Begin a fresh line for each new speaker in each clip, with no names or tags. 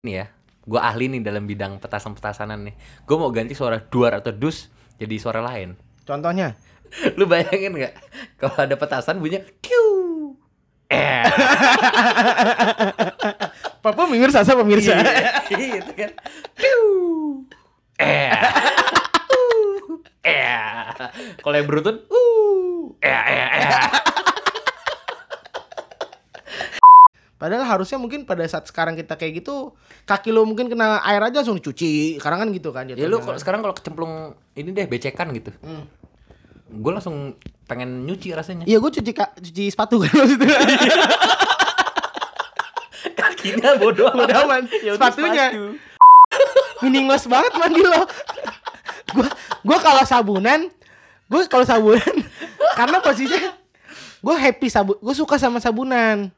nih ya gue ahli nih dalam bidang petasan petasanan nih gue mau ganti suara duar atau dus jadi suara lain
Contohnya?
lu bayangin nggak kalau ada petasan bunyinya kiu eh
Papa pemirsa sasa pemirsa.
gitu kan kiu eh Uh. eh kalau yang beruntun uh eh eh eh
Padahal harusnya mungkin pada saat sekarang kita kayak gitu kaki lo mungkin kena air aja langsung dicuci. Sekarang kan gitu kan
ya lu kalau sekarang kalau kecemplung ini deh becekan gitu
Hmm.
gue langsung pengen nyuci rasanya
Iya gue cuci ka- cuci sepatu kan maksudnya.
kakinya bodoh
Bodo Iya, amat.
Ya udah,
Sepatunya.
sepatu.
Meaningless banget mandi lo. Gua gua kalau sabunan, gue kalau sabunan karena posisinya gue happy sabun, gue suka sama sabunan.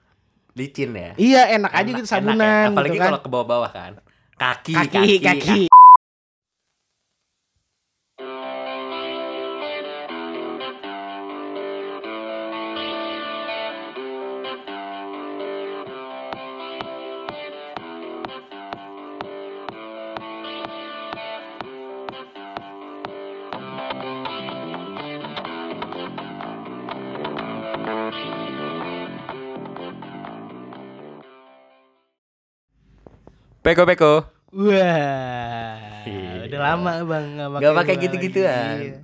licin ya
Iya enak, aja
Enak-
gitu
enak ya.
sabunan
apalagi
gitu kan.
kalau ke bawah-bawah kan kaki
Kaki
kaki,
kaki.
Peko peko.
Wah,
Iya.
udah lama bang
Nggak pakai
bola
gitu-gituan.
lagi. Iya.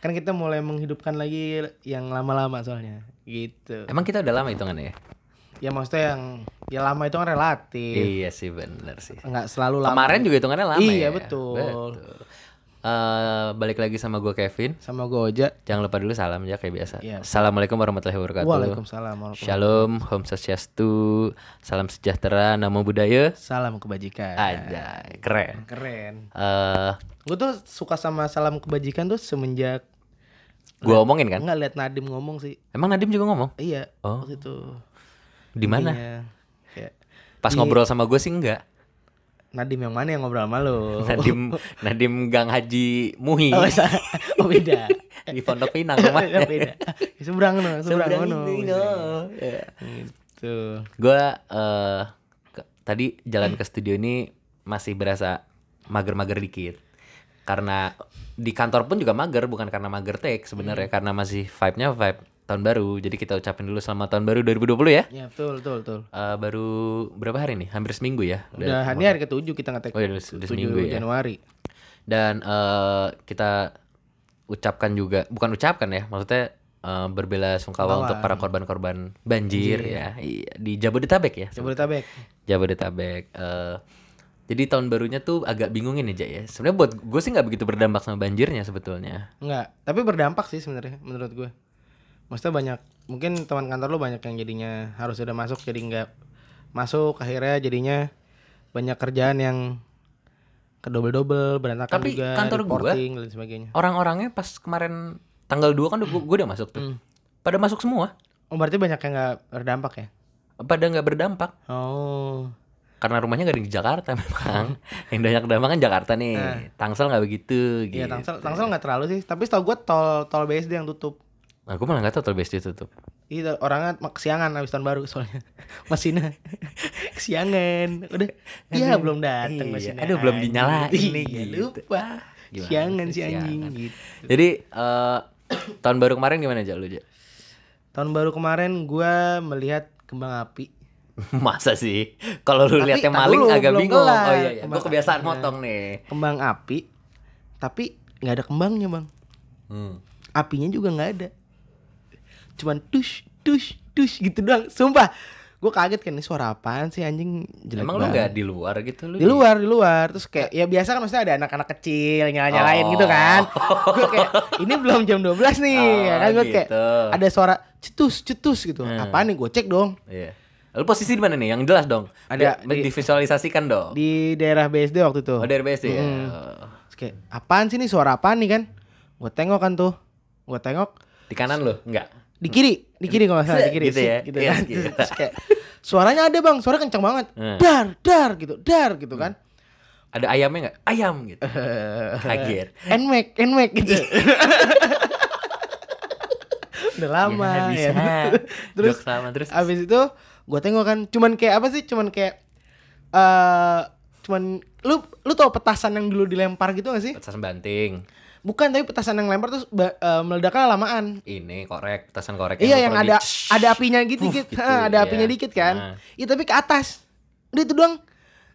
Kan kita mulai menghidupkan lagi yang lama-lama soalnya, gitu.
Emang kita udah lama hitungannya ya?
Ya maksudnya yang ya lama itu kan relatif,
Iya sih bener sih.
nggak selalu lama.
Kemarin juga hitungannya lama ya.
Iya, betul.
Eh, balik lagi sama gue Kevin.
Sama gue Oja.
Jangan lupa dulu salam ya kayak biasa.
Iya.
Assalamualaikum warahmatullahi wabarakatuh.
Waalaikumsalam. warahmatullahi
Shalom, Om Swastiastu, salam sejahtera, namo budaya.
wabarakatuh. Salam kebajikan.
Aja, keren.
Keren.
Eh,
Gue tuh suka sama salam kebajikan tuh semenjak
gue omongin kan.
nggak lihat Nadim ngomong sih.
Emang Nadim juga ngomong?
Iya.
Oh.
Waktu itu.
Di mana?
Iya. Kayak,
Pas
Di-
ngobrol sama gue sih enggak.
Nadim yang mana yang ngobrol sama lo?
Nadim Nadim Gang Haji Muhi
Oh, sa- oh beda.
di Pondok Pinang
Ya,
rumahnya.
beda. Seberang no, seberang
Seberang
no.
ini, no. Iya.
Gitu.
gue eh ke- tadi jalan ke studio ini masih berasa mager-mager dikit karena di kantor pun juga mager bukan karena mager take sebenarnya karena masih vibe-nya vibe tahun baru jadi kita ucapin dulu selamat tahun baru 2020 ya
Ya, betul, betul, betul.
Eh, baru berapa hari nih hampir seminggu ya
Udah
Udah-
hari hari ketujuh kita ngetek.
Oh, iya, udah- udah
7
seminggu ya.
Januari.
dan eh kita ucapkan juga bukan ucapkan ya maksudnya eh, berbela sungkawa
Sungkawa.
untuk para korban-korban banjir, ya Iya, di Jabodetabek ya
Jabodetabek.
Jabodetabek. eh jadi tahun barunya tuh agak bingungin aja ya. Sebenarnya buat gue sih nggak begitu berdampak sama banjirnya sebetulnya.
Enggak, tapi berdampak sih sebenarnya menurut gue. Maksudnya banyak mungkin teman kantor lu banyak yang jadinya harus udah masuk jadi nggak masuk akhirnya jadinya banyak kerjaan yang kedobel-dobel berantakan
Tapi
juga
kantor gua-
reporting dan sebagainya.
Orang-orangnya pas kemarin tanggal 2 kan gue udah masuk tuh.
Hmm.
Pada masuk semua.
Oh berarti banyak yang nggak berdampak ya?
Pada nggak berdampak
Oh
karena rumahnya gak ada di Jakarta memang. Yang banyak dampak kan Jakarta nih.
Nah.
Tangsel nggak begitu gitu.
iya Tangsel Tangsel nggak terlalu sih tapi setahu gue tol tol BSD yang tutup.
Nah, gue malah nggak tahu tol BSD tutup.
Itu orangnya mak- kesiangan habis tahun baru soalnya mesinnya kesiangan udah iya
Aduh,
belum datang
iya.
mesinnya
Aduh, belum
Anjing.
dinyalain nih,
Iya,
gitu.
lupa
Gimana
siangan
sih,
si anjing
siangan.
gitu
Jadi eh tahun baru kemarin gimana aja lu aja?
tahun baru kemarin gua melihat kembang api
Masa sih? Kalau lu
Tapi,
liatnya
tar
maling
dulu,
agak
belum
bingung.
kelar.
Oh iya, iya. gue
Kemarin.
kebiasaan motong nih.
kembang api tapi nggak ada kembangnya bang
Hmm.
apinya juga nggak ada cuman tush tush tush gitu doang sumpah gua kaget kan ini suara apaan sih anjing jelek
Emang lu
banget
nggak di luar gitu lu?
di luar di luar terus kayak ya biasa kan maksudnya ada anak-anak kecil nyala
Eh.
nyalain
Oh.
gitu kan gue kayak ini belum jam 12 nih
Oh,
ya kan gue kayak
gitu.
ada suara cetus cetus gitu
Hmm.
apaan nih gue cek dong
Iya. Lu posisi di mana nih? Yang jelas dong.
Ada
Di,
di-
divisualisasikan dong.
di daerah BSD waktu itu
oh, dari BSD ya.
Hmm.
Oh.
Terus kayak apaan sih nih suara apaan nih kan gue tengok kan tuh gue tengok
Di kanan lu? Enggak.
di kiri di kiri kalau nggak salah di kiri
Gitu ya?
Set, gitu
Iya,
kan.
gitu.
Terus kayak suaranya ada bang suara kencang banget
Hmm.
dar dar gitu dar gitu kan
Ada ayamnya enggak? Ayam gitu. Kaget.
Nmax, Nmax gitu. Udah lama
bisa.
ya.
Terus
Terus
lama terus.
abis itu gue tengok kan, cuman kayak apa sih? Cuman kayak eh cuman lu lu tau petasan yang dulu dilempar gitu gak sih?
Petasan banting.
Bukan tapi petasan yang lempar terus ba- eh, meledaknya lamaan.
Ini korek, petasan korek.
Iya yang
kalau di-
ada ada apinya gitu, dikit.
gitu,
Ah, ada
iya.
apinya dikit
Ah.
kan. Iya tapi ke atas. Udah itu doang.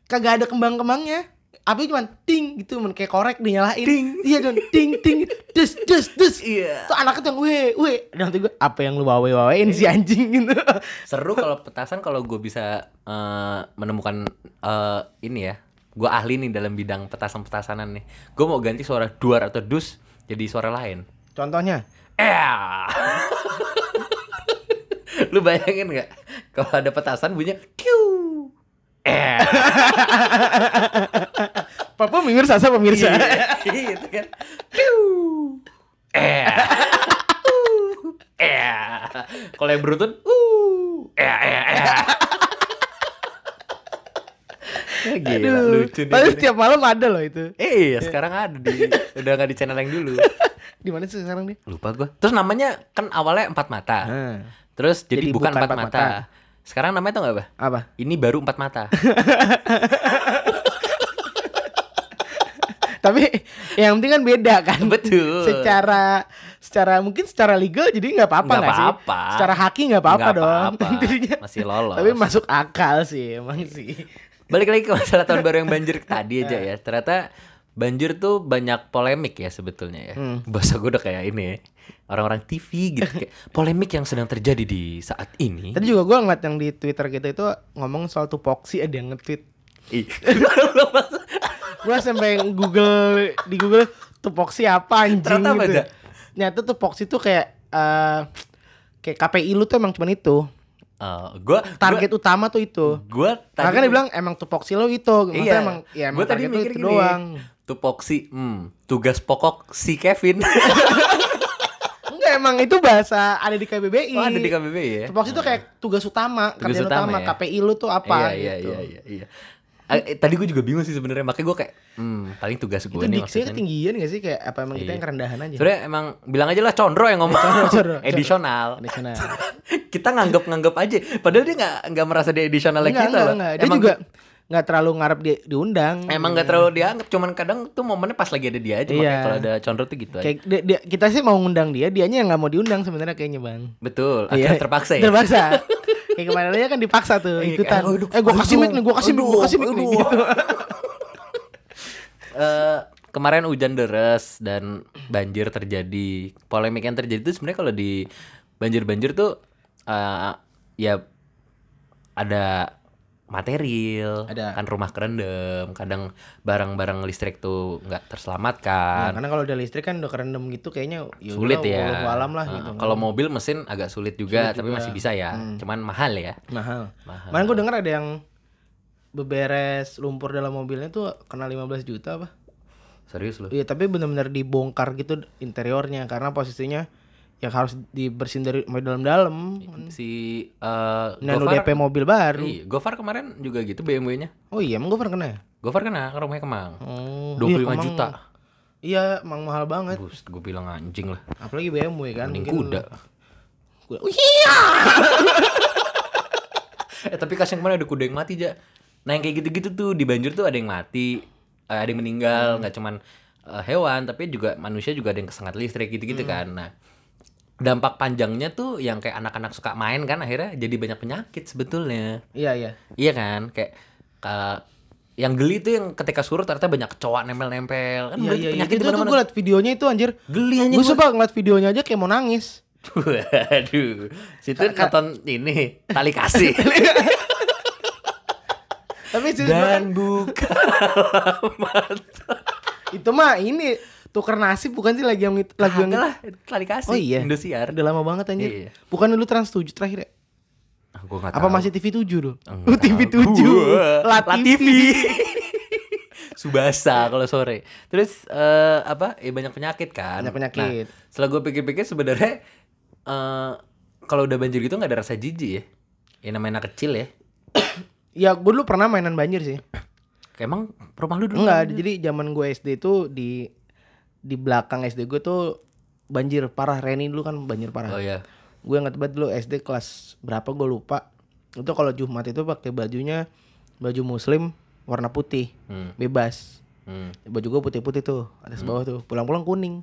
Kagak ada kembang-kembangnya. Api cuman ting gitu men kayak korek dinyalain. Iya cuman ting ting des des des.
Iya.
Tuh anak itu yang weh weh. Dan nanti gue apa yang lu wawe-wawein si anjing gitu.
Seru kalau petasan kalau gue bisa eh, menemukan eh, ini ya. Gue ahli nih dalam bidang petasan-petasanan nih. Gue mau ganti suara duar atau dus jadi suara lain.
Contohnya
Eh. Lu bayangin nggak kalau ada petasan bunyinya kiu. Eh.
Papa pemirsa saya pemirsa.
gitu kan. Kiu. Eh. Uh. Eh. Kalau yang beruntun, uh. Eh, eh, eh. Eh, Gila,
Aduh,
lucu nih.
Tapi
gini.
tiap malam ada loh itu.
Eh, iya, sekarang ada di udah nggak di channel yang dulu.
Di mana sih sekarang dia?
Lupa gua. Terus namanya kan awalnya empat mata.
Nah,
Terus jadi,
Jadi
bukan, empat mata. Sekarang namanya tau gak apa?
Apa?
Ini baru empat mata.
Tapi yang penting kan beda kan.
Betul.
secara secara mungkin secara legal jadi nggak apa-apa
Nggak
nggak sih?
apa-apa.
Secara haki nggak apa-apa
Nggak
dong.
apa-apa.
Intinya.
Masih lolos.
Tapi masuk akal sih emang sih.
Balik lagi ke masalah tahun baru yang banjir tadi aja ya. Ternyata banjir tuh banyak polemik ya sebetulnya ya.
Hmm.
Bahasa gue udah kayak ini ya. Orang-orang TV gitu. Kayak polemik yang sedang terjadi di saat ini.
Tadi juga gue ngeliat yang di Twitter gitu itu ngomong soal tupoksi ada yang nge-tweet.
Ih.
Gue sampai Google di Google tupoksi apa anjing
Ternyata apa
gitu.
ada?
Nyata tupoksi tuh kayak eh, kayak KPI lu tuh emang cuman itu.
Eh, gua
Target utama tuh itu.
gue
Karena kan dia bilang emang tupoksi lo itu, maksudnya
Iya.
emang ya emang
Gua tadi
target lu
mikir
itu
gini.
doang.
tupoksi hmm, tugas pokok si Kevin.
Enggak emang itu bahasa ada di KBBI.
oh, ada di KBBI ya.
Tupoksi itu kayak tugas utama,
Tugas
kerjaan
utama
utama,
ya?
KPI lu tuh apa
iya,
gitu.
Iya, iya, iya. Eh, eh, tadi gue juga bingung sih sebenarnya makanya gue kayak hmm, paling tugas gue
Itu
nih
diksinya
maksudnya.
ketinggian gak sih kayak apa emang kita
Iya.
yang kerendahan aja?
Sebenarnya emang bilang aja lah Condro yang ngomong
Condro, Condro, Condro.
edisional.
Tradisional.
kita nganggap-nganggap aja padahal dia nggak nggak merasa dia edisional
Enggak,
kita
enggak,
gitu loh.
enggak. Dia
emang,
juga enggak terlalu ngarep dia diundang.
emang nggak terlalu dianggap cuman kadang tuh momennya pas lagi ada dia aja
Iya.
makanya kalau ada Condro tuh gitu aja.
kayak dia- dia- kita sih mau ngundang dia, dianya yang nggak mau diundang sebenarnya kayaknya bang. Iya.
Betul, akhirnya terpaksa ya.
Terpaksa. kayak kemarin aja kan dipaksa tuh
Iya,
ikutan.
kayak, aduh,
eh gue kasih
aduh,
mic nih, gue kasih mic, gue
aduh,
kasih mic nih.
aduh.
Gitu.
Eh, kemarin hujan deras dan banjir terjadi. Polemik yang terjadi itu sebenarnya kalau di banjir-banjir tuh eh, ya ada material,
Ada.
kan rumah kerendam, kadang barang-barang listrik tuh nggak
Nah,
terselamatkan.
karena kalau udah listrik kan udah kerendam gitu kayaknya ya
sulit
udahlah,
ya.
wallahu alam lah
Eh,
gitu.
Kalau mobil mesin agak sulit juga,
Sulit
tapi
juga. Hmm.
masih bisa ya. Cuman mahal ya.
mahal.
Mahal.
Kemarin gue denger ada yang beberes lumpur dalam mobilnya tuh kena 15 juta apa?
Serius lu.
Iya, tapi benar-benar dibongkar gitu interiornya karena posisinya yang harus dibersihin dari dari dalam-dalam.
Si eh
Hmm. Nano
Gofar-
DP mobil baru.
Iya, Gofar kemarin juga gitu BMW-nya.
Oh iya, emang gue pernah kena ya?
Gofar kena ke rumahnya Kemang.
Oh,
25
emang-
juta.
Iya, emang mahal banget.
Bus, gue bilang anjing lah.
Apalagi BMW kan.
Mending
mungkin-
kuda.
Kuda. Iya.
Eh tapi kasihan kemarin ada kuda yang mati, Ja. Nah, yang kayak gitu-gitu tuh di banjir tuh ada yang mati, eh, ada yang
Hmm.
meninggal, nggak cuman eh, hewan, tapi juga manusia juga ada yang kesengat listrik gitu-gitu
Hmm.
kan. Nah, dampak panjangnya tuh yang kayak anak-anak suka main kan akhirnya jadi banyak penyakit sebetulnya.
Iya, iya.
Iya kan? Kayak ka- yang geli tuh yang ketika surut ternyata banyak kecoa nempel-nempel. Kan
Iya,
berarti
iya, iya.
penyakit
Itu
di
tuh
mana-mana.
gue liat videonya itu anjir.
Geli anjing
Gue
gua.
sumpah ngeliat videonya aja kayak mau nangis.
Waduh, situ nonton ini tali kasih
Tapi serius gua kan,
dan buka mata.
itu mah ini tuker nasib bukan sih lagi yang itu- lagu yang
Kagak lah, tali kasih.
Oh iya.
Indosiar.
Udah lama banget anjir.
Iya.
Bukan dulu Trans 7 terakhir ya?
Ah, gua nggak
Apa
tahu.
masih TV 7 dulu?
Nggak
Oh, TV
tahu.
7.
Gua,
La
La
TV.
TV. Subasa kalau sore. Terus eh, apa? Ya banyak penyakit kan.
Banyak penyakit.
Nah, setelah gue pikir-pikir sebenarnya eh, kalau udah banjir gitu nggak ada rasa jijik ya. Ya namanya anak kecil ya.
Ya gue dulu pernah mainan banjir sih.
Kayak Emang rumah lu dulu?
Enggak, jadi zaman gue SD itu di di belakang SD gue tuh banjir parah. Reni dulu kan banjir parah.
Oh iya.
gue inget banget dulu SD kelas berapa gue lupa itu kalau Jumat itu pakai bajunya baju muslim warna putih
Hmm.
bebas
Hmm.
baju gue putih-putih tuh atas bawah tuh pulang-pulang kuning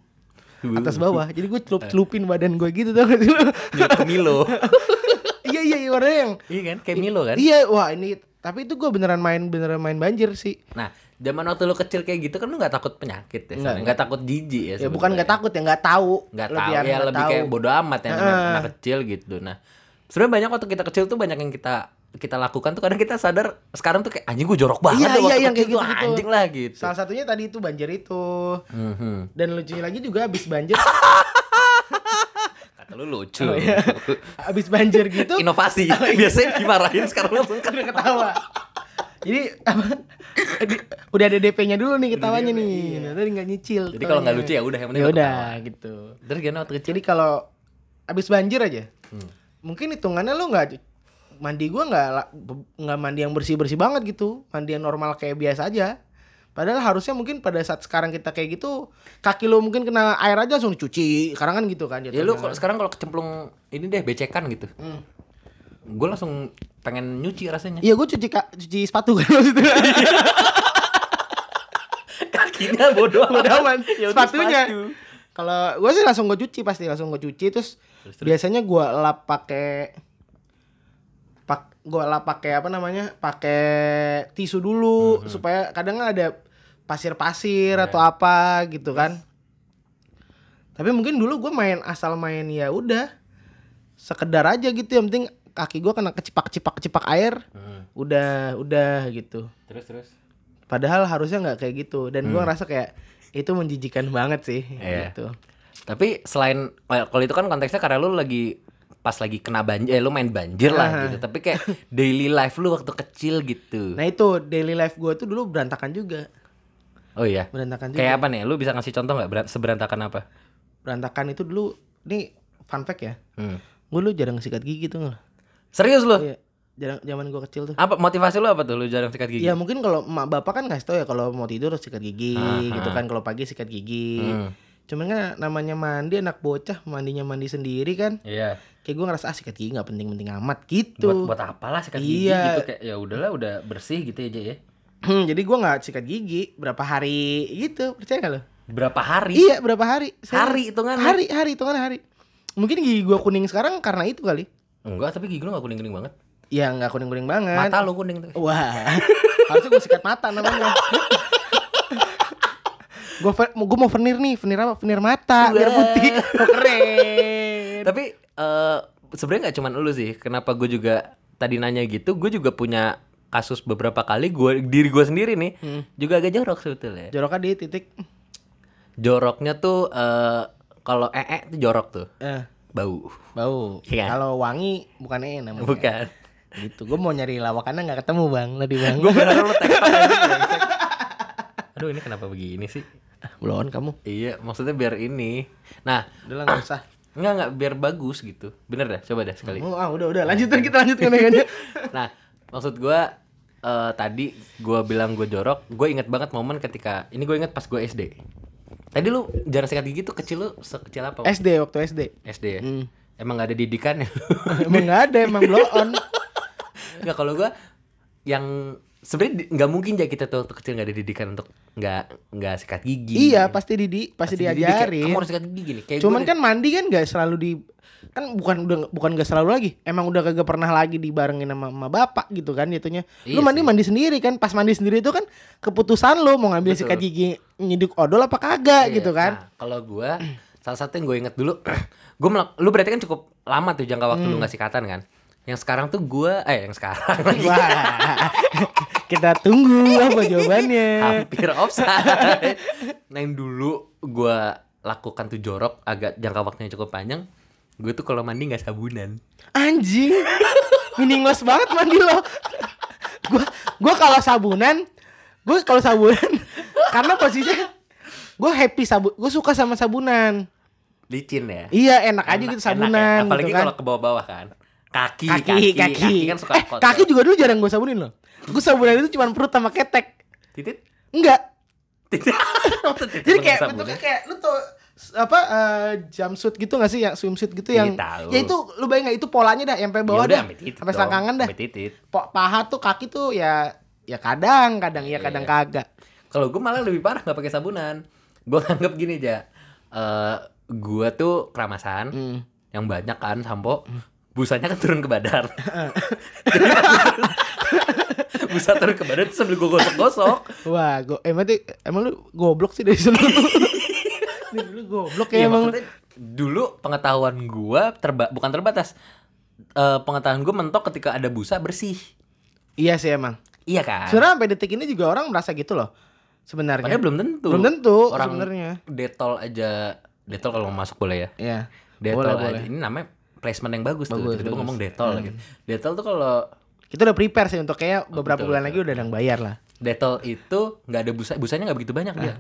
atas bawah jadi gue
Eh.
celup celupin badan gue gitu tuh
Mirip Milo.
iya iya iya, warnanya yang
iya kan? Kayak Milo kan?
iya wah ini tapi itu gue beneran main beneran main banjir sih
Nah, zaman waktu lu kecil kayak gitu kan lu nggak takut penyakit ya?
Nggak,
San? Nggak takut jijik ya?
ya bukan nggak takut ya nggak tahu
Nggak tahu
Lebihan
ya
nggak
lebih
tahu.
kayak bodoh amat ya anak,
Heeh.
anak kecil gitu. Nah, sebenarnya banyak waktu kita kecil tuh banyak yang kita kita lakukan tuh kadang kita sadar sekarang tuh kayak anjing gue jorok banget
Iya,
tuh
iya,
waktu kecil
yang kayak
tuh
gitu-gitu.
anjing lah gitu.
salah satunya tadi itu banjir itu
Mhm.
dan lucunya lagi juga abis banjir
Kata lu lucu.
Oh, iya. abis banjir gitu
Inovasi. Biasanya dimarahin sekarang langsung kan.
udah ketawa jadi apa di- udah ada DP-nya dulu nih ketawanya nih Nah, tadi nggak nyicil
Iya, Jadi kalau nggak lucu
ketawanya.
ya udah yang penting
ya
lu
udah
ketawa.
gitu
Terus gimana waktu kecil?
jadi kalau abis banjir aja
Hmm.
mungkin hitungannya lo nggak mandi gua nggak la- be- nggak mandi yang bersih bersih banget gitu mandi yang normal kayak biasa aja padahal harusnya mungkin pada saat sekarang kita kayak gitu kaki lo mungkin kena air aja langsung dicuci sekarang kan gitu kan
Ya lu
jatuhnya.
kalau sekarang kalau kecemplung ini deh becekan gitu.
Hmm.
Gue langsung pengen nyuci rasanya.
iya gue cuci ka- cuci sepatu kan maksudnya
Kakinya Iya, bodoh
Bodo amat.
Ya udah,
Sepatunya.
sepatu.
Kalau gue sih langsung gue cuci pasti langsung gue cuci terus,
Terus, terus.
biasanya gue lap pakai pak gue lap pakai apa namanya pakai tisu dulu
Mm-hmm.
supaya kadang kan ada pasir-pasir
Iya.
atau apa gitu kan. Tapi mungkin dulu gue main asal main ya udah sekedar aja gitu yang penting kaki gue kena kecipak-cipak-cipak air
Hmm.
udah udah gitu.
Terus terus.
Padahal harusnya nggak kayak gitu dan gua ngerasa kayak itu menjijikan banget sih
Hmm. Iya.
gitu.
Tapi selain well, kalau itu kan konteksnya karena lu lagi pas lagi kena banjir, eh, lu main banjir lah
Ah.
gitu. Tapi kayak daily life lu waktu kecil gitu.
Nah itu daily life gua tuh dulu berantakan juga,
Oh iya.
berantakan juga.
Kayak apa nih? Lu bisa ngasih contoh nggak beran- seberantakan apa?
Berantakan itu dulu, ini fun fact ya.
Hmm.
Gue dulu jarang sikat gigi tuh nggak?
Serius lu?
Iya, jarang zaman gua kecil tuh.
Apa motivasi lu apa tuh? Lu jarang sikat gigi.
Ya mungkin kalau emak bapak kan ngasih tau ya kalau mau tidur harus sikat gigi
Ah,
gitu
ah.
kan kalau pagi sikat gigi.
Hmm.
Cuman kan namanya mandi anak bocah mandinya mandi sendiri kan.
Iya.
Kayak gua ngerasa ah sikat gigi nggak penting-penting amat gitu.
Buat buat apalah sikat gigi
Iya.
gitu kayak ya udahlah udah bersih gitu aja ya.
Hmm, Jadi gua nggak sikat gigi berapa hari gitu percaya gak lo?
Berapa hari?
Iya berapa hari? Saya-
Hari hitungan.
Hari hari itu kan hari. Mungkin gigi gua kuning sekarang karena itu kali.
Enggak, tapi gigi lu gak kuning-kuning banget.
Ya nggak kuning kuning banget.
Mata lu kuning tuh.
Wah. Harusnya gua sikat mata namanya. gua ver- mau gua mau venir nih venir apa venir mata biar
Wah.
putih Oh, keren
Tapi eh sebenarnya nggak cuman lu sih. Kenapa gue juga tadi nanya gitu, gue juga punya kasus beberapa kali gue diri gue sendiri nih
Hmm.
juga agak jorok sebetulnya.
joroknya di titik
Joroknya tuh eh kalau ee tuh jorok tuh
eh,
bau.
bau
Iya.
kalau wangi bukan enak namanya
Bukan.
gitu gua mau nyari lawakannya nggak ketemu bang tadi bang
gue berharap lu tag apa aja, brengsek. Aduh ini kenapa begini sih?
belon kamu
Iya, maksudnya biar ini. Nah,
udah lah nggak usah
enggak enggak biar bagus gitu. Bener dah, coba dah sekali.
oh, ah, udah udah lanjutin kita lanjutkan aja
nah maksud gua eh, tadi gua bilang gue jorok gue inget banget momen ketika ini gue inget pas gue SD tadi lu jarang sikat gigi tuh kecil lu sekecil apa Wak?
SD waktu SD
SD ya
Eh. Hmm.
emang gak ada didikan ya
emang nggak ada emang blow on
nggak kalau gua yang sebenarnya di- nggak mungkin ya kita tuh waktu kecil nggak ada didikan untuk nggak nggak sikat gigi
iya pasti didi pasti,
Dididik kayak,
diajarin
kamu harus sikat gigi nih kayak
cuman
Eh, gua
kan mandi kan nggak selalu di kan bukan udah bukan nggak selalu lagi emang udah kagak pernah lagi dibarengin sama, sama bapak gitu kan jatuhnya
Iya
lu mandi
sih.
mandi sendiri kan pas mandi sendiri itu kan keputusan lu mau ngambil
Betul.
sikat gigi nyiduk odol apa kagak
Iya,
gitu kan
nah, kalau gua salah satu yang gue inget dulu, gue lu berarti kan cukup lama tuh jangka waktu
Hmm.
lu nggak sikatan kan? Yang sekarang tuh gua eh yang sekarang lagi
wah kita tunggu apa jawabannya
hampir offside. nah yang dulu gua lakukan tuh jorok agak jangka waktunya cukup panjang. Gue tuh kalau mandi nggak sabunan.
anjing miningos banget mandi lo gua gua kalau sabunan gua kalau sabunan karena posisinya gua happy sabun gua suka sama sabunan
Licin ya.
iya enak, aja
Enak-
gitu
enak ya.
sabunan
Apalagi
gitu kan
kalau ke bawah-bawah kan. Kaki,
kaki kaki
kaki, kan suka
eh,
kotor.
kaki juga dulu jarang gua sabunin loh gua sabunan itu cuma perut sama ketek
Titit.
enggak
Titit.
jadi kayak bentuknya kayak lu tuh apa eh, jumpsuit gitu gak sih yang swimsuit gitu yang
Iya, tahu.
ya itu lu
Ya
bayangin nggak itu polanya dah yang sampai bawah dah sampai selangkangan dah
Sampai titit.
Po- paha tuh kaki tuh ya ya kadang kadang iya kadang
Iya.
kagak
Kalau gue malah lebih parah nggak pakai sabunan. Gue anggap gini aja. Eh gue tuh keramasan
Mm.
yang banyak kan sampo. Busanya kan turun ke badan. Busa turun ke badan terus sambil gue gosok-gosok.
wah go eh mati emang lu goblok sih dari dulu dari dulu goblok ya
Iya,
emang lu.
maksudnya dulu pengetahuan gue terba bukan terbatas. Eh pengetahuan gue mentok ketika ada busa bersih.
iya sih emang
Iya kan?
sebenarnya sampai detik ini juga orang merasa gitu loh sebenarnya
Padahal belum tentu.
belum tentu
Orang-
sebenarnya
Detol aja. Detol kalau mau masuk boleh ya.
ya
Detol
Boleh,
aja.
boleh.
Ini namanya placement yang bagus, tuh.
Bagus,
Tiba-tiba
bagus. Hmm.
ngomong detol lagi. Detol tuh kalau
kita udah prepare sih untuk kayak beberapa
Oh, betul,
bulan lagi udah ada yang bayar lah
detol itu nggak ada busa, busanya nggak begitu banyak dia.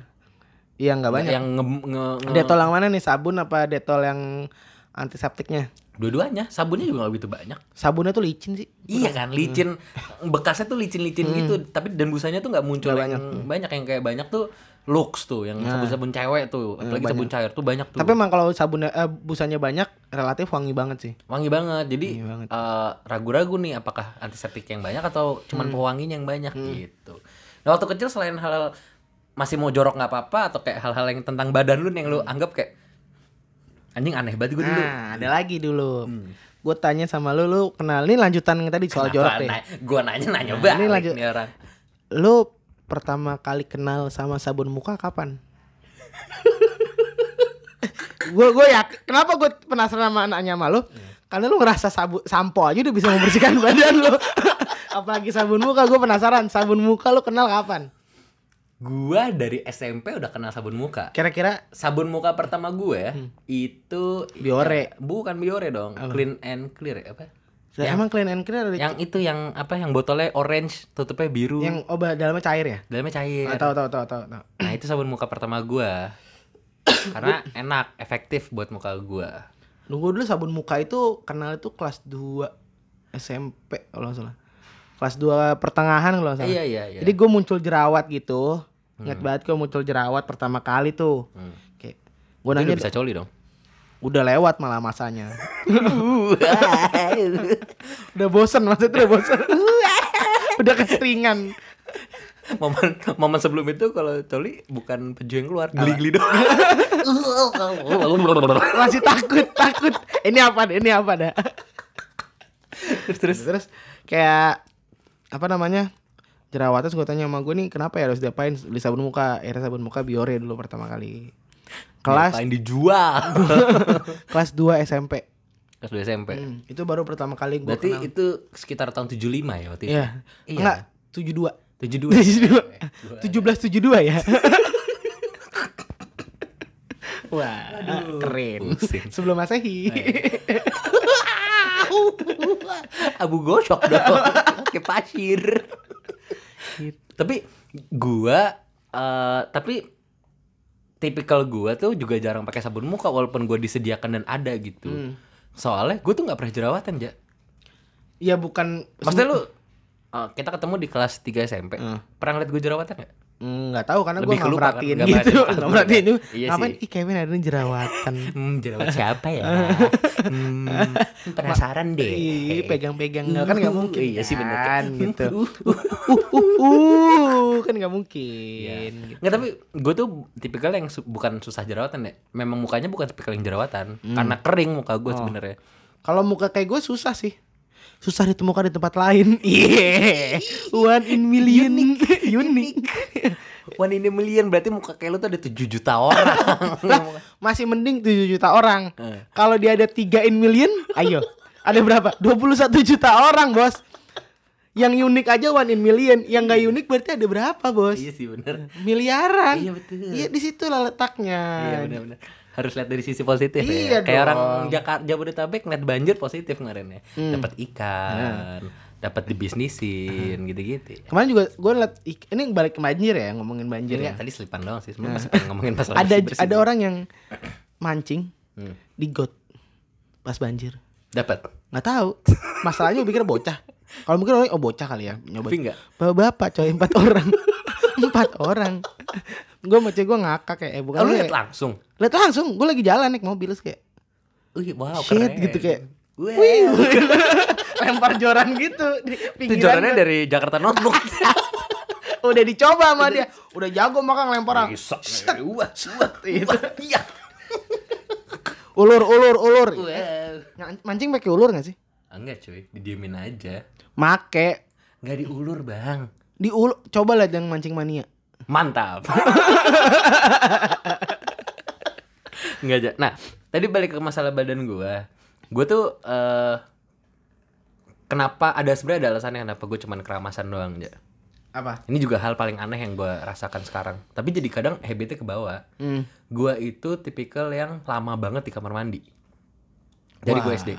iya nggak banyak
Yang nge, nge- nge-
detol yang mana nih sabun apa detol yang antiseptiknya
dua-duanya, sabunnya juga nggak begitu banyak.
sabunnya tuh licin sih
Iya kan, licin. Bekasnya tuh licin-licin gitu, tapi dan busanya tuh nggak muncul
Hmm. Nggak Hmm. Nah.
yang banyak. yang kayak banyak tuh lux tuh, yang sabun-sabun cewek tuh, apalagi
Hmm, banyak.
sabun cair tuh banyak tuh.
Tapi emang kalau sabunnya eh, busanya banyak relatif wangi banget sih.
wangi banget. Jadi
Wangi banget.
eh, ragu-ragu nih apakah antiseptik yang banyak atau
Hmm.
cuman pewanginya yang banyak gitu. Nah, waktu kecil selain hal-hal masih mau jorok nggak apa-apa atau kayak hal-hal yang tentang badan lu nih yang lu anggap kayak anjing aneh banget gue dulu.
Hmm. Nah, ada lagi dulu.
Hmm.
Gue tanya sama lu, lu kenal ini lanjutan yang tadi soal jorok deh.
Gue nanya nanya
Nah,
banget
ini lanjut.
nih orang.
Lu pertama kali kenal sama sabun muka kapan? gue gue ya kenapa gue penasaran sama anaknya sama lu? Karena lu ngerasa sabu, sampo aja udah bisa membersihkan badan lu. Apalagi sabun muka, gue penasaran sabun muka lu kenal kapan?
Gue dari SMP udah kenal sabun muka.
Kira-kira
Sabun muka pertama gue itu
Hmm. Biore.
Ya, bukan Biore dong. Clean and Clear ya, apa?
emang clean and clear ada
Yang itu yang apa yang botolnya orange, tutupnya biru.
yang obat dalamnya cair ya?
dalamnya cair.
Ah, Tahu tahu tahu tahu tahu.
Nah itu sabun muka pertama gua Karena enak, efektif buat muka gua
Nunggu dulu sabun muka itu kenal itu kelas 2 SMP kalau nggak salah. Kelas 2 pertengahan kalau nggak salah.
Iya iya iya
Jadi gue muncul jerawat gitu. Ingat banget gue muncul jerawat pertama kali tuh.
Hmm.
Kayak gue
Itu
nanya
udah bisa coli dong
udah lewat malah masanya. udah bosen maksudnya udah bosen. udah keseringan.
momen, momen sebelum itu kalau coli bukan peju yang keluar Geli-geli dong
Masih takut, takut. Ini apa? Ini apa dah?
Terus terus
terus kayak apa namanya jerawatnya gue tanya sama gue nih kenapa ya harus diapain beli sabun muka akhirnya sabun muka biore dulu pertama kali kelas
Ngapain dijual
kelas 2 SMP
Kelas 2 SMP
Hmm, itu baru pertama kali gue
Berarti
kenal
itu sekitar tahun 75 ya waktu itu
iya
Iya.
enggak 72
72
72 1772 ya Wah, keren.
pusing.
Sebelum Masehi.
Nah, iya. Abu gosok dong Kayak pasir Gitu. Tapi gua eh, Tapi Tipikal gua tuh juga jarang pakai sabun muka Walaupun gua disediakan dan ada gitu
Hmm.
Soalnya gua tuh nggak pernah jerawatan ja
Ya bukan
Maksudnya lu eh, Kita ketemu di kelas 3 SMP
Hmm.
Pernah liat gua jerawatan gak?
nggak tahu karena gue
Lebih
nggak
kelupa kan?
merhatiin
Nggak
gitu,
merhatiin.
nggak merhatiin itu.
Iya
Ngapain?
sih.
Ih Kevin ada nih jerawatan.
Hmm jerawat siapa ya? hmm, Iya, penasaran deh gitu.
Ih, pegang-pegang Nggak, kan nggak mungkin.
Iya sih bener
kan, gitu.
Uh.
Uh, kan nggak mungkin. gitu.
Nggak tapi gue tuh tipikal yang su- bukan susah jerawatan ya. Memang mukanya bukan tipikal yang jerawatan karena kering muka gue sebenarnya.
Kalau muka kayak gue susah sih. Susah ditemukan di tempat lain. Iya. One in million. Unik.
One in a million berarti muka kayak lu tuh ada 7 juta orang.
Lah, masih mending 7 juta orang.
Eh.
Kalau dia ada 3 in million, ayo. Ada berapa? 21 juta orang, Bos. Yang unik aja one in million, yang nggak unik berarti ada berapa, Bos?
iya sih bener.
miliaran.
Iya, betul.
Iya di situlah letaknya.
Iya bener-bener. Harus lihat dari sisi positif
Kan.
ya.
Iya
Kayak
dong. Hmm.
orang Jakarta Jabodetabek ngeliat banjir positif kemarin ya. Dapat
Nah.
ikan, dapat dibisnisin gitu-gitu.
Kemarin juga gue ngeliat ik- ini balik ke banjir ya ngomongin banjir ya.
Jadi tadi selipan doang sih. Sebenarnya masih pengen ngomongin masalah
Nah. Ada
bersih-bersih.
ada orang yang mancing
Hmm.
di got pas banjir.
dapat.
Nggak tahu. Masalahnya gue pikir bocah. Kalau mungkin orang oh bocah kali ya nyoba.
Tapi enggak.
Bapak-bapak coy empat orang. empat orang. Gue sama cewek gue ngakak kayak eh bukan
Kalau
lu
lu
ya.
lihat langsung.
Lihat langsung gue lagi jalan naik mobil terus kayak
Wih, wow,
Shit,
keren.
gitu kayak,
Wow.
Wih. lempar joran gitu di
Itu
pinggiran.
jorannya
tuh.
dari Jakarta Notebook.
Udah dicoba sama dia. Udah gitu. jago makan lempar orang.
Bisa.
Set,
Wah, wah,
Itu.
wah, iya.
Ulur, ulur, ulur.
Wow.
Nyan- Mancing pakai ulur gak sih?
Enggak cuy, didiemin aja.
Make.
Enggak diulur bang.
Di ulur. Coba lihat yang mancing mania.
Mantap. Enggak aja. Nah, tadi balik ke masalah badan gua. Gua tuh eh kenapa ada sebenarnya ada alasannya kenapa gua cuman keramasan doang aja.
Apa?
Ini juga hal paling aneh yang gua rasakan sekarang. Tapi jadi kadang habitnya ke bawah.
Hmm.
Gua itu tipikal yang lama banget di kamar mandi. Dari gua
Wah.
SD.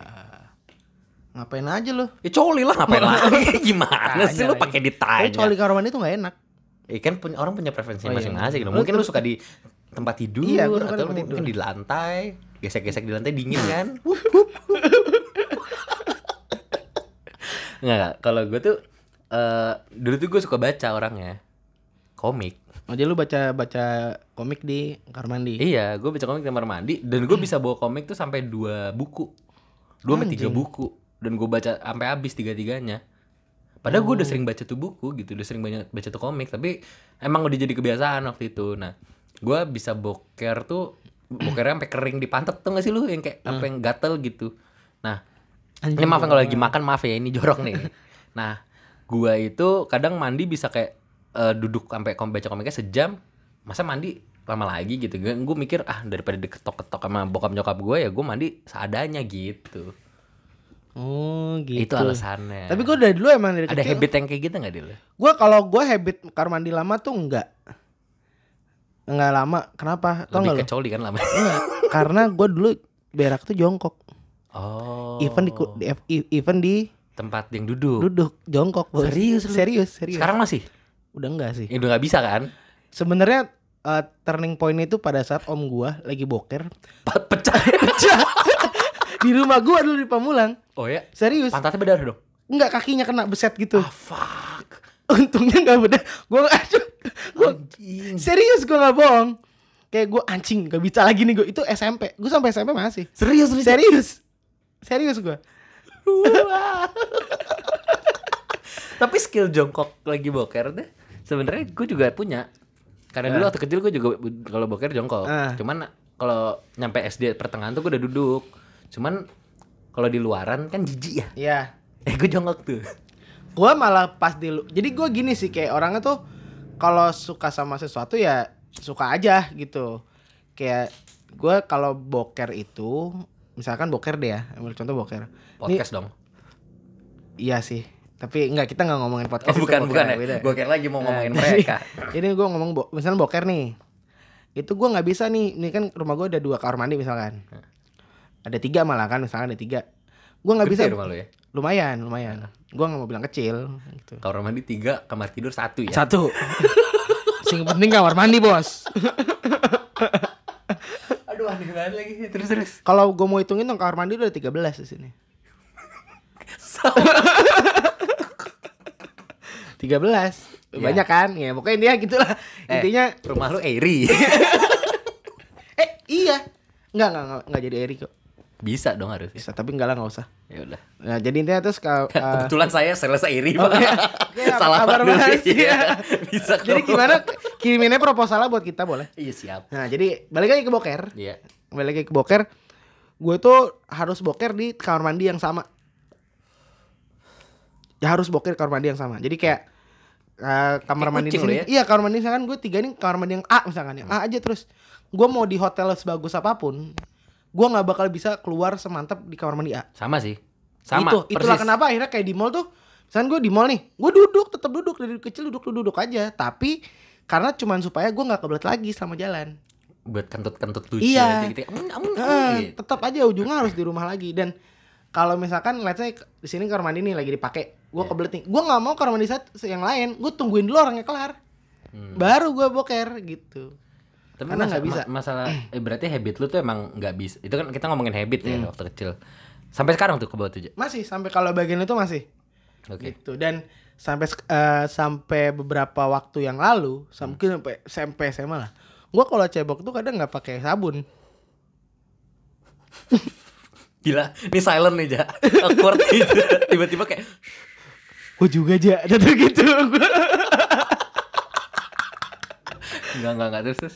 Ngapain aja lu?
Ya coli lah ngapain lagi? Gimana sih
Tanya
lu
lagi.
pakai
Tapi
ditanya?
coli kamar mandi tuh gak enak.
Eh kan punya orang punya preferensi
Oh, iya.
masing-masing. dong.
Lu
Mungkin lu suka di tempat tidur
Iya, gua suka di
atau
tempat
mungkin
tidur. Hmm.
di lantai, gesek-gesek di lantai dingin kan. Enggak, kalau gue tuh eh dulu tuh gue suka baca orangnya. Komik.
Oh, jadi lu baca baca komik di kamar mandi.
Iya, gue baca komik di kamar mandi dan gue bisa bawa komik tuh sampai dua buku. Dua sampai tiga
Anjing.
buku dan gue baca sampai habis tiga-tiganya. Padahal gue udah sering baca tuh buku gitu, udah sering banyak baca tuh komik, tapi emang udah jadi kebiasaan waktu itu. Nah, gue bisa boker tuh bokernya sampai kering di pantat tuh gak sih lu yang kayak apa yang gatel gitu. Nah, ini maaf ya kalau
Iya.
lagi makan maaf ya ini jorok nih. Nah, gua itu kadang mandi bisa kayak eh, duduk sampai kom baca komiknya sejam. Masa mandi lama lagi gitu. Gue gue mikir ah daripada diketok-ketok sama bokap nyokap gue ya gue mandi seadanya gitu.
Oh,
Itu
gitu.
alasannya.
Tapi gue dari dulu emang dari
ada
kecil.
habit yang kayak gitu nggak dulu?
Gue kalau gue habit kamar mandi lama tuh enggak. Enggak lama. Kenapa?
Lebih
Tau enggak lu?
kecoli kan lama.
Enggak. Karena gue dulu berak tuh jongkok.
Oh.
Even di ku- di e- even di
tempat yang duduk.
duduk jongkok. Bos.
Serius lu?
Serius, serius.
Sekarang masih?
udah enggak sih.
Ya, udah nggak bisa kan?
Sebenarnya eh, turning point itu pada saat om gue lagi boker
Pe- Pecah.
di rumah gue dulu di Pamulang.
Oh ya.
Serius.
Pantatnya berdarah dong.
Enggak kakinya kena beset gitu.
Ah fuck.
Untungnya enggak beda. Gue gue
Anjing.
serius gue nggak bohong. Kayak gue anjing gak bisa lagi nih gue itu SMP. Gue sampai SMP masih.
Serius lu?
Serius. Serius gue.
Tapi skill jongkok lagi boker deh. Sebenarnya gue juga punya. Karena dulu waktu kecil gue juga bu- kalau boker jongkok.
Ah.
Cuman kalau nyampe SD pertengahan tuh gue udah duduk. Cuman kalau di luaran kan jijik ya.
Iya.
Eh gue jongkok tuh.
Gue malah pas di lu- Jadi gue gini sih kayak orangnya tuh kalau suka sama sesuatu ya suka aja gitu. Kayak gue kalau boker itu misalkan boker deh ya, ambil contoh boker. Ini-
Podcast dong.
iya sih. Tapi enggak kita nggak ngomongin
Oh,
podcast itu
bukan
boker,
bukan ya.
beda.
Gue kira lagi mau ngomongin
Nah,
mereka.
Jadi gue ngomong bo- misalnya boker nih. Itu gue nggak bisa nih. Ini kan rumah gue ada dua kamar mandi misalkan. Ada tiga malah kan misalkan ada tiga. Gue nggak bisa.
Gede rumah lu ya.
Lumayan lumayan. Gue nggak mau bilang kecil. Gitu.
Kamar mandi tiga, kamar tidur satu ya.
Satu. Sing penting kamar mandi bos.
Aduh aneh banget lagi. Terus terus.
Kalau gue mau hitungin dong kamar mandi udah 13 di sini.
Sama.
13 banyak kan ya pokoknya intinya gitulah
Iya. Eh.
intinya
rumah lu airy.
eh iya nggak nggak nggak, nggak jadi Eri kok
Bisa dong harusnya.
bisa tapi enggak lah nggak usah
Ya udah.
nah jadi intinya terus kalau eh,
Kebetulan saya selesai iri
Oh,
pak.
iya. Oke, apa
Salah
kabar,
dulu
Mas?
sih.
Iya.
Bisa.
Jadi
kok.
gimana kiriminnya proposalnya buat kita boleh.
Iya siap.
Nah, jadi balik lagi ke boker.
Iya.
Balik lagi ke boker. Gue tuh harus boker di kamar mandi yang sama. Ya harus boker di kamar mandi yang sama. Jadi kayak eh,
Kayak
kamar mandi di
kucing
sini.
lu ya?
Iya, kamar mandi misalkan gue tiga nih kamar mandi yang A misalkan yang A aja terus. Gue mau di hotel sebagus apapun, gue nggak bakal bisa keluar semantap di kamar mandi A.
Sama sih. Sama.
Itu, itulah kenapa akhirnya kayak di mall tuh, misalnya gue di mall nih, gue duduk, tetap duduk dari kecil duduk duduk aja, tapi karena cuman supaya gue nggak kebelet lagi sama jalan.
Buat kentut-kentut lucu
Iya.
aja gitu. ya. Amun, amun, amun,
Eh,
gitu.
tetap aja ujungnya harus di rumah lagi dan kalau misalkan let's say di sini kamar mandi nih lagi dipakai, gue
Iya.
kebelet nih. Gue nggak mau kamar mandi saat yang lain, gue tungguin dulu orangnya kelar,
Hmm.
baru gue boker gitu.
Tapi
karena
masa-
nggak bisa.
ma- masalah eh, berarti habit lu tuh emang nggak bisa. Itu kan kita ngomongin habit ya
Mm.
waktu kecil. Sampai sekarang tuh ke bawah tujuh.
Masih sampai kalau bagian itu masih
Oke.
gitu dan sampai sek- eh, sampai beberapa waktu yang lalu,
Hmm.
sam- mungkin sampai SMP SMA lah. Gue kalau cebok tuh kadang nggak pakai sabun.
Gila, ini silent nih, Ja. Awkward gitu. Tiba-tiba kayak
Gue juga aja, jatuh gitu. Gua-
enggak enggak enggak terus. terus.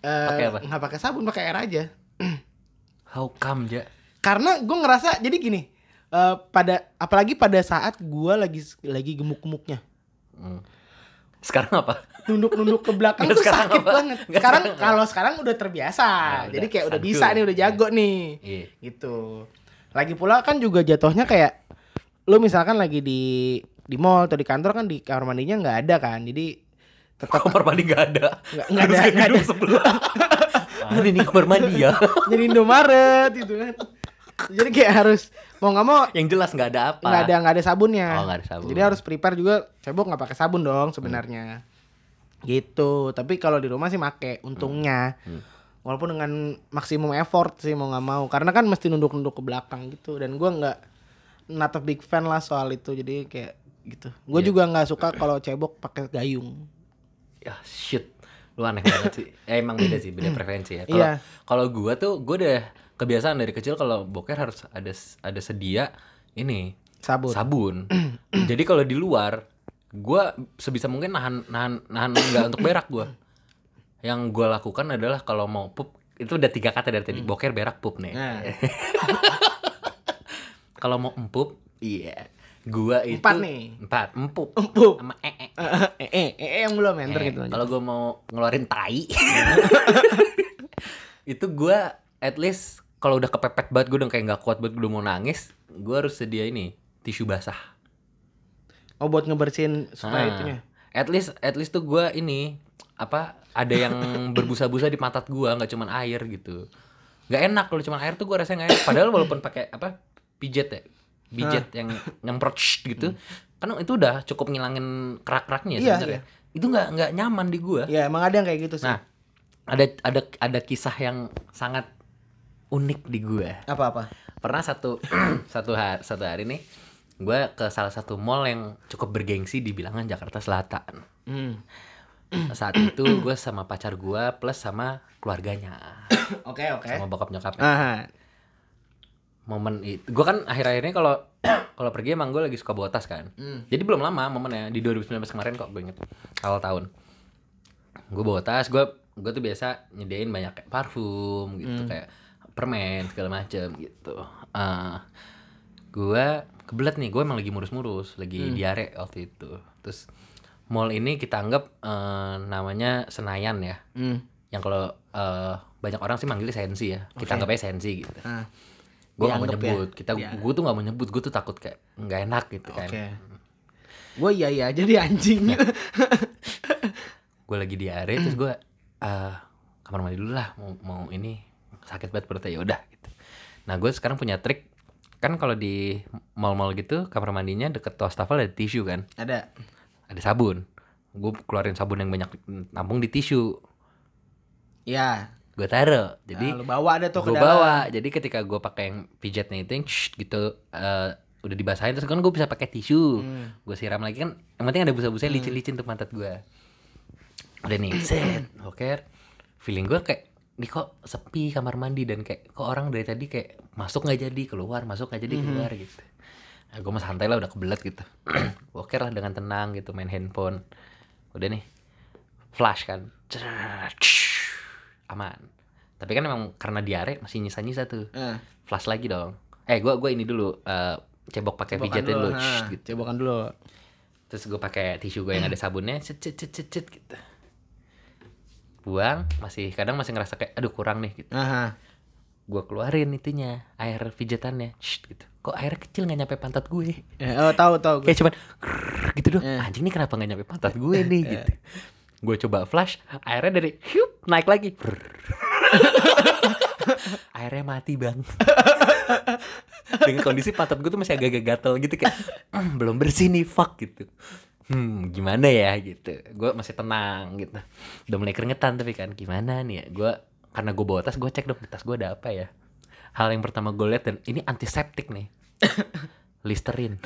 Eh,
Pakai apa?
Nggak pakai sabun, pakai air aja.
How come, Ja?
Karena gue ngerasa jadi gini, eh, pada apalagi pada saat gue lagi lagi gemuk-gemuknya,
Hmm. Sekarang apa?
nunduk-nunduk ke belakang
Nggak
tuh
sekarang
sakit
apa?
banget.
Nggak
Sekarang
sekarang apa?
kalau sekarang udah terbiasa,
Nah,
jadi
udah
kayak udah
santun.
bisa nih, udah
Iya.
jago nih,
Iya.
gitu. Lagi pula kan juga jatuhnya kayak lu misalkan lagi di di mall atau di kantor kan di kamar mandinya nggak ada kan, jadi tetap
Kamar mandi enggak ada.
Nggak- nggak ada,
Harus ke
nggak
gedung sebelah. Ah, ini nih kamar mandi ya.
jadi Indomaret gitu kan. Jadi kayak harus mau nggak mau
Yang jelas nggak ada apa.
nggak ada nggak ada sabunnya.
Oh, nggak ada sabun.
Jadi harus prepare juga cebok nggak pakai sabun dong sebenarnya. Gitu. Tapi kalau di rumah sih make untungnya.
Hmm.
Walaupun dengan maksimum effort sih mau nggak mau karena kan mesti nunduk-nunduk ke belakang gitu dan gua nggak not a big fan lah soal itu. Jadi kayak gitu. Gue
Iya.
juga nggak suka kalau cebok pakai gayung.
ya shit lu aneh banget sih ya, emang beda sih beda preferensi ya kalau
Iya.
kalau gua tuh gua udah kebiasaan dari kecil kalau boker harus ada ada sedia ini
Sabun.
sabun jadi kalau di luar gua sebisa mungkin nahan nahan nahan nggak untuk berak gua yang gua lakukan adalah kalau mau pup itu udah tiga kata dari
Mm.
tadi boker berak pup nih
Nah,
kalau mau empup iya gua itu
Empat nih.
empat empup
empuk.
sama ee
eh, eh, eh, eh, yang belum enter
Eh,
gitu aja.
Kalau gue mau ngeluarin tai, itu gue at least kalau udah kepepet banget gue udah kayak nggak kuat banget gue udah mau nangis, gue harus sedia ini tisu basah.
Oh buat ngebersihin supaya
Ah.
itunya.
At least at least tuh gue ini apa ada yang berbusa-busa di pantat gue nggak cuman air gitu. Nggak enak kalau cuman air tuh gue rasanya nggak enak. Padahal walaupun pakai apa pijet ya, pijet yang nyemprot shh gitu, kan itu udah cukup ngilangin kerak-keraknya
Hmm. Iya,
sebenarnya. Itu nggak nggak nyaman di gue.
Ya emang ada yang kayak gitu sih.
Nah, ada ada ada kisah yang sangat unik di gua.
Apa-apa?
Pernah satu satu hari satu hari nih gua ke salah satu mall yang cukup bergengsi di bilangan Jakarta Selatan.
Hmm.
Saat itu gua sama pacar gua plus sama keluarganya,
Oke, oke.
sama bokap nyokapnya.
Aha.
Momen itu gua kan akhir-akhirnya kalau kalau pergi emang gua lagi suka bawa tas kan.
Hmm.
Jadi belum lama momennya di 2019 kemarin kok gue inget awal tahun. Gue bawa tas, gue gue tuh biasa nyediain banyak kayak parfum
Hmm.
gitu kayak permen segala macem gitu. Eh, gue kebelet nih, gue emang lagi murus-murus, lagi
Hmm.
diare waktu itu. Terus mall ini kita anggap eh, namanya Senayan ya,
Hmm.
yang kalau eh, banyak orang sih manggilnya Sensi ya. Kita
Oke.
anggap aja Sensi gitu.
Ah,
Gue gak mau
Dianggap ya.
nyebut, kita
Dia-
gue tuh gak mau nyebut, gue tuh takut kayak nggak enak gitu
oke.
kan.
Gue iya iya aja di anjing.
gue lagi diare E, terus
Hmm.
gue eh kamar mandi dulu lah mau, mau ini sakit banget perutnya yaudah gitu nah gue sekarang punya trik kan kalau di mall-mall gitu kamar mandinya deket wastafel ada tisu kan
ada.
ada sabun gue keluarin sabun yang banyak nampung di tisu
Ya.
gue taruh
Jadi
jadi
Ah, lu bawa ada tuh ke
gue
dalam.
bawa jadi ketika gue pakai yang pijetnya itu yang shh gitu eh, udah dibasahin terus kan gue bisa pakai tisu
Hmm.
gue siram lagi kan yang penting ada busa-busanya licin-licin tuh pantat gue udah nih set oke feeling gue kayak ini kok sepi kamar mandi dan kayak kok orang dari tadi kayak masuk nggak jadi keluar masuk nggak jadi
Hmm.
keluar gitu nah, gue mah santai lah udah kebelet gitu oke lah dengan tenang gitu main handphone udah nih flash kan Cerrrr, shhh, aman tapi kan emang karena diare masih nyisa-nyisa tuh
Eh,
flash lagi dong eh gue gua ini dulu eh, cebok pakai
cebokan
pijetin dulu,
ha,
shhh, gitu
Cebokan dulu.
terus gue pakai tisu gue yang ada sabunnya cet cet cet cet cet gitu buang masih kadang masih ngerasa kayak aduh kurang nih gitu
Aha.
gue keluarin itunya air pijatannya Shhh, gitu kok air kecil nggak nyampe pantat gue
Eh, oh tahu tahu gue.
kayak cuman "Grrrr" gitu doh
Eh.
anjing nih kenapa nggak nyampe pantat gue nih gitu gue coba flash airnya dari hiup naik lagi Brrrr. airnya mati bang dengan kondisi pantat gue tuh masih agak-agak gatel gitu kayak "Mm, belum bersih nih fuck gitu hmm gimana ya gitu gue masih tenang gitu udah mulai keringetan tapi kan gimana nih ya gue karena gue bawa tas gue cek dong di tas gue ada apa ya hal yang pertama gue lihat dan ini antiseptik nih listerin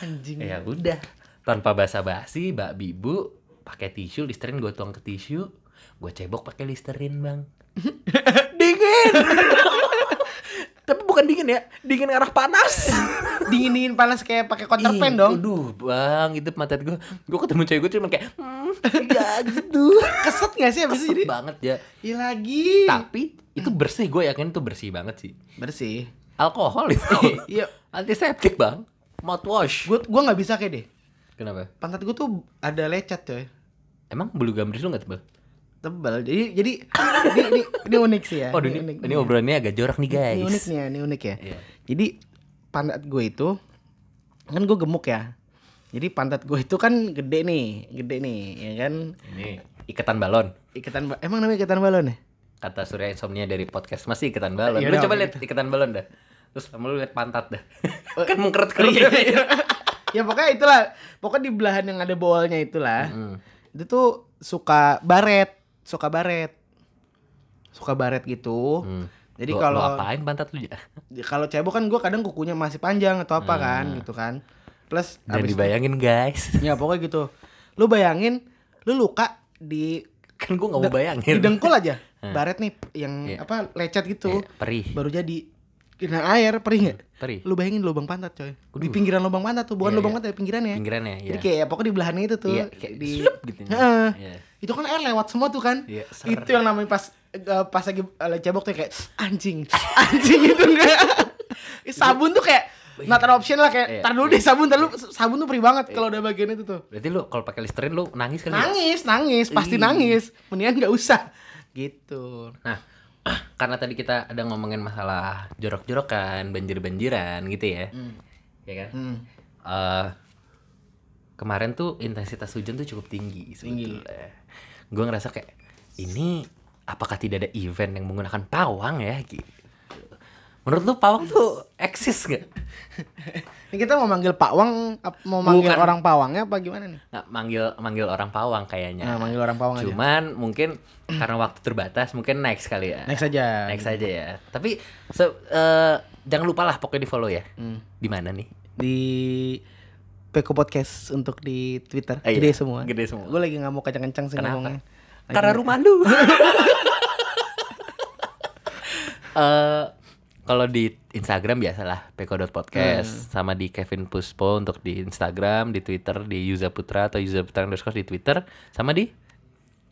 Anjing.
ya udah tanpa basa-basi mbak bibu pakai tisu listerin gue tuang ke tisu gue cebok pakai listerin bang
Di
bukan dingin ya, dingin arah panas.
dingin dingin panas kayak pakai counter
Iya,
pen dong
Aduh, bang, itu mata gue. Gue ketemu cewek gue cuma kayak, "Hmm, ya gitu.
keset nggak sih abis itu
Kesel
jadi
banget ya.
Ih lagi
Tapi itu bersih, gue yakin itu bersih banget sih.
bersih
Alkohol itu
iya
antiseptik bang, mouthwash.
gue gua nggak bisa kayak deh
Kenapa?
pantat gue tuh ada lecet coy
Emang bulu gambris lu gak tebal?
tebal jadi jadi ini, ini, ini unik sih ya
Oh, ini,
unik
ini obrolannya agak jorok nih guys.
ini unik nih ya ini unik ya
Iya.
jadi pantat gue itu kan gue gemuk ya jadi pantat gue itu kan gede nih gede nih ya kan
Ini iketan balon.
ikatan ba- emang namanya ikatan balon ya
Kata Surya Insomnia dari podcast masih iketan balon.
Iya
Lu
dong,
coba
iya
lihat iketan balon dah. Terus sama lu lihat pantat dah.
Oh,
kan mengkeret keret.
iya, iya. ya pokoknya itulah pokoknya di belahan yang ada bolnya itulah
Hmm.
itu tuh suka baret suka baret suka baret gitu jadi kalau
apain pantat lu ya?
kalau cebok kan gue kadang kukunya masih panjang atau apa kan gitu kan plus
Dan
abis-
dibayangin guys.
ya pokoknya gitu lu bayangin lu luka di
Kan gua nggak mau
Deng-
bayangin.
di dengkul aja
Hmm.
baret nih yang
Iya.
apa lecet
Iya,
gitu
perih,
baru jadi kena air perih nggak
perih.
lu bayangin lubang pantat coy di
Aduh.
pinggiran lubang pantat tuh bukan
Iya,
lubang
iya.
pantat ya pinggirannya
Pinggirannya ya.
jadi kayak ya, pokoknya di belahannya itu tuh
Iya, kayak
di
slup gitu.
Heeh.
Iya.
itu kan air lewat semua tuh kan
Iya, ser.
itu yang namanya pas eh, pas lagi eh, cebok tuh kayak anjing anjing itu enggak sabun tuh kayak not an option lah
Iya,
kayak tar dulu deh sabun tar dulu sabun tuh perih banget kalau udah bagian itu tuh
Berarti lu kalau pakai Listerine lu nangis kali. ya?
nangis nangis pasti
Ih.
nangis mendingan nggak usah gitu
Nah, karena tadi kita ada ngomongin masalah jorok-jorokan, banjir-banjiran gitu ya. Ya kan?
hmm.
Eh, kemarin tuh intensitas hujan tuh cukup tinggi sebetulnya. Gue ngerasa kayak ini apakah tidak ada event yang menggunakan pawang ya gitu. Menurut lu pawang tuh eksis gak?
ini kita mau manggil Pak Wang ap- mau manggil
Bukan.
orang Pawangnya apa gimana nih
Nah, manggil manggil orang pawang kayaknya.
nah manggil orang Pawang aja
Cuman mungkin karena waktu terbatas mungkin next kali ya.
next aja
Next aja ya. Tapi se- eh, jangan lupa lah pokoknya di follow ya.
Hmm.
Di mana nih?
di Peko Podcast untuk di Twitter
Eh, iya.
gede semua
Gede semua.
gue lagi nggak mau kencang-kencang sih
Kenapa?
ngomongnya Lagi-
Karena rumah lu. Eh, kalau di Instagram biasalah
Hmm.
peko.podcast sama di Kevin Puspo untuk di Instagram, di Twitter di Yuza Putra atau Yuza Putra underscore di Twitter sama di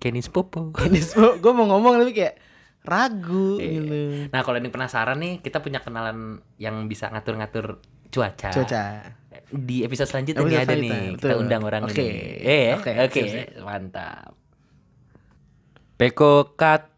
Kenis Popo.
ini semua gue mau ngomong tapi kayak ragu
Iya.
gitu
Nah, kalau ada yang penasaran nih, kita punya kenalan yang bisa ngatur-ngatur cuaca.
cuaca
Di episode selanjutnya
Episode
nih ada
selanjutnya,
nih,
betul.
kita undang orang
Oke,
ini. Eh,
oke,
oke,
sip,
mantap. Peko Cut.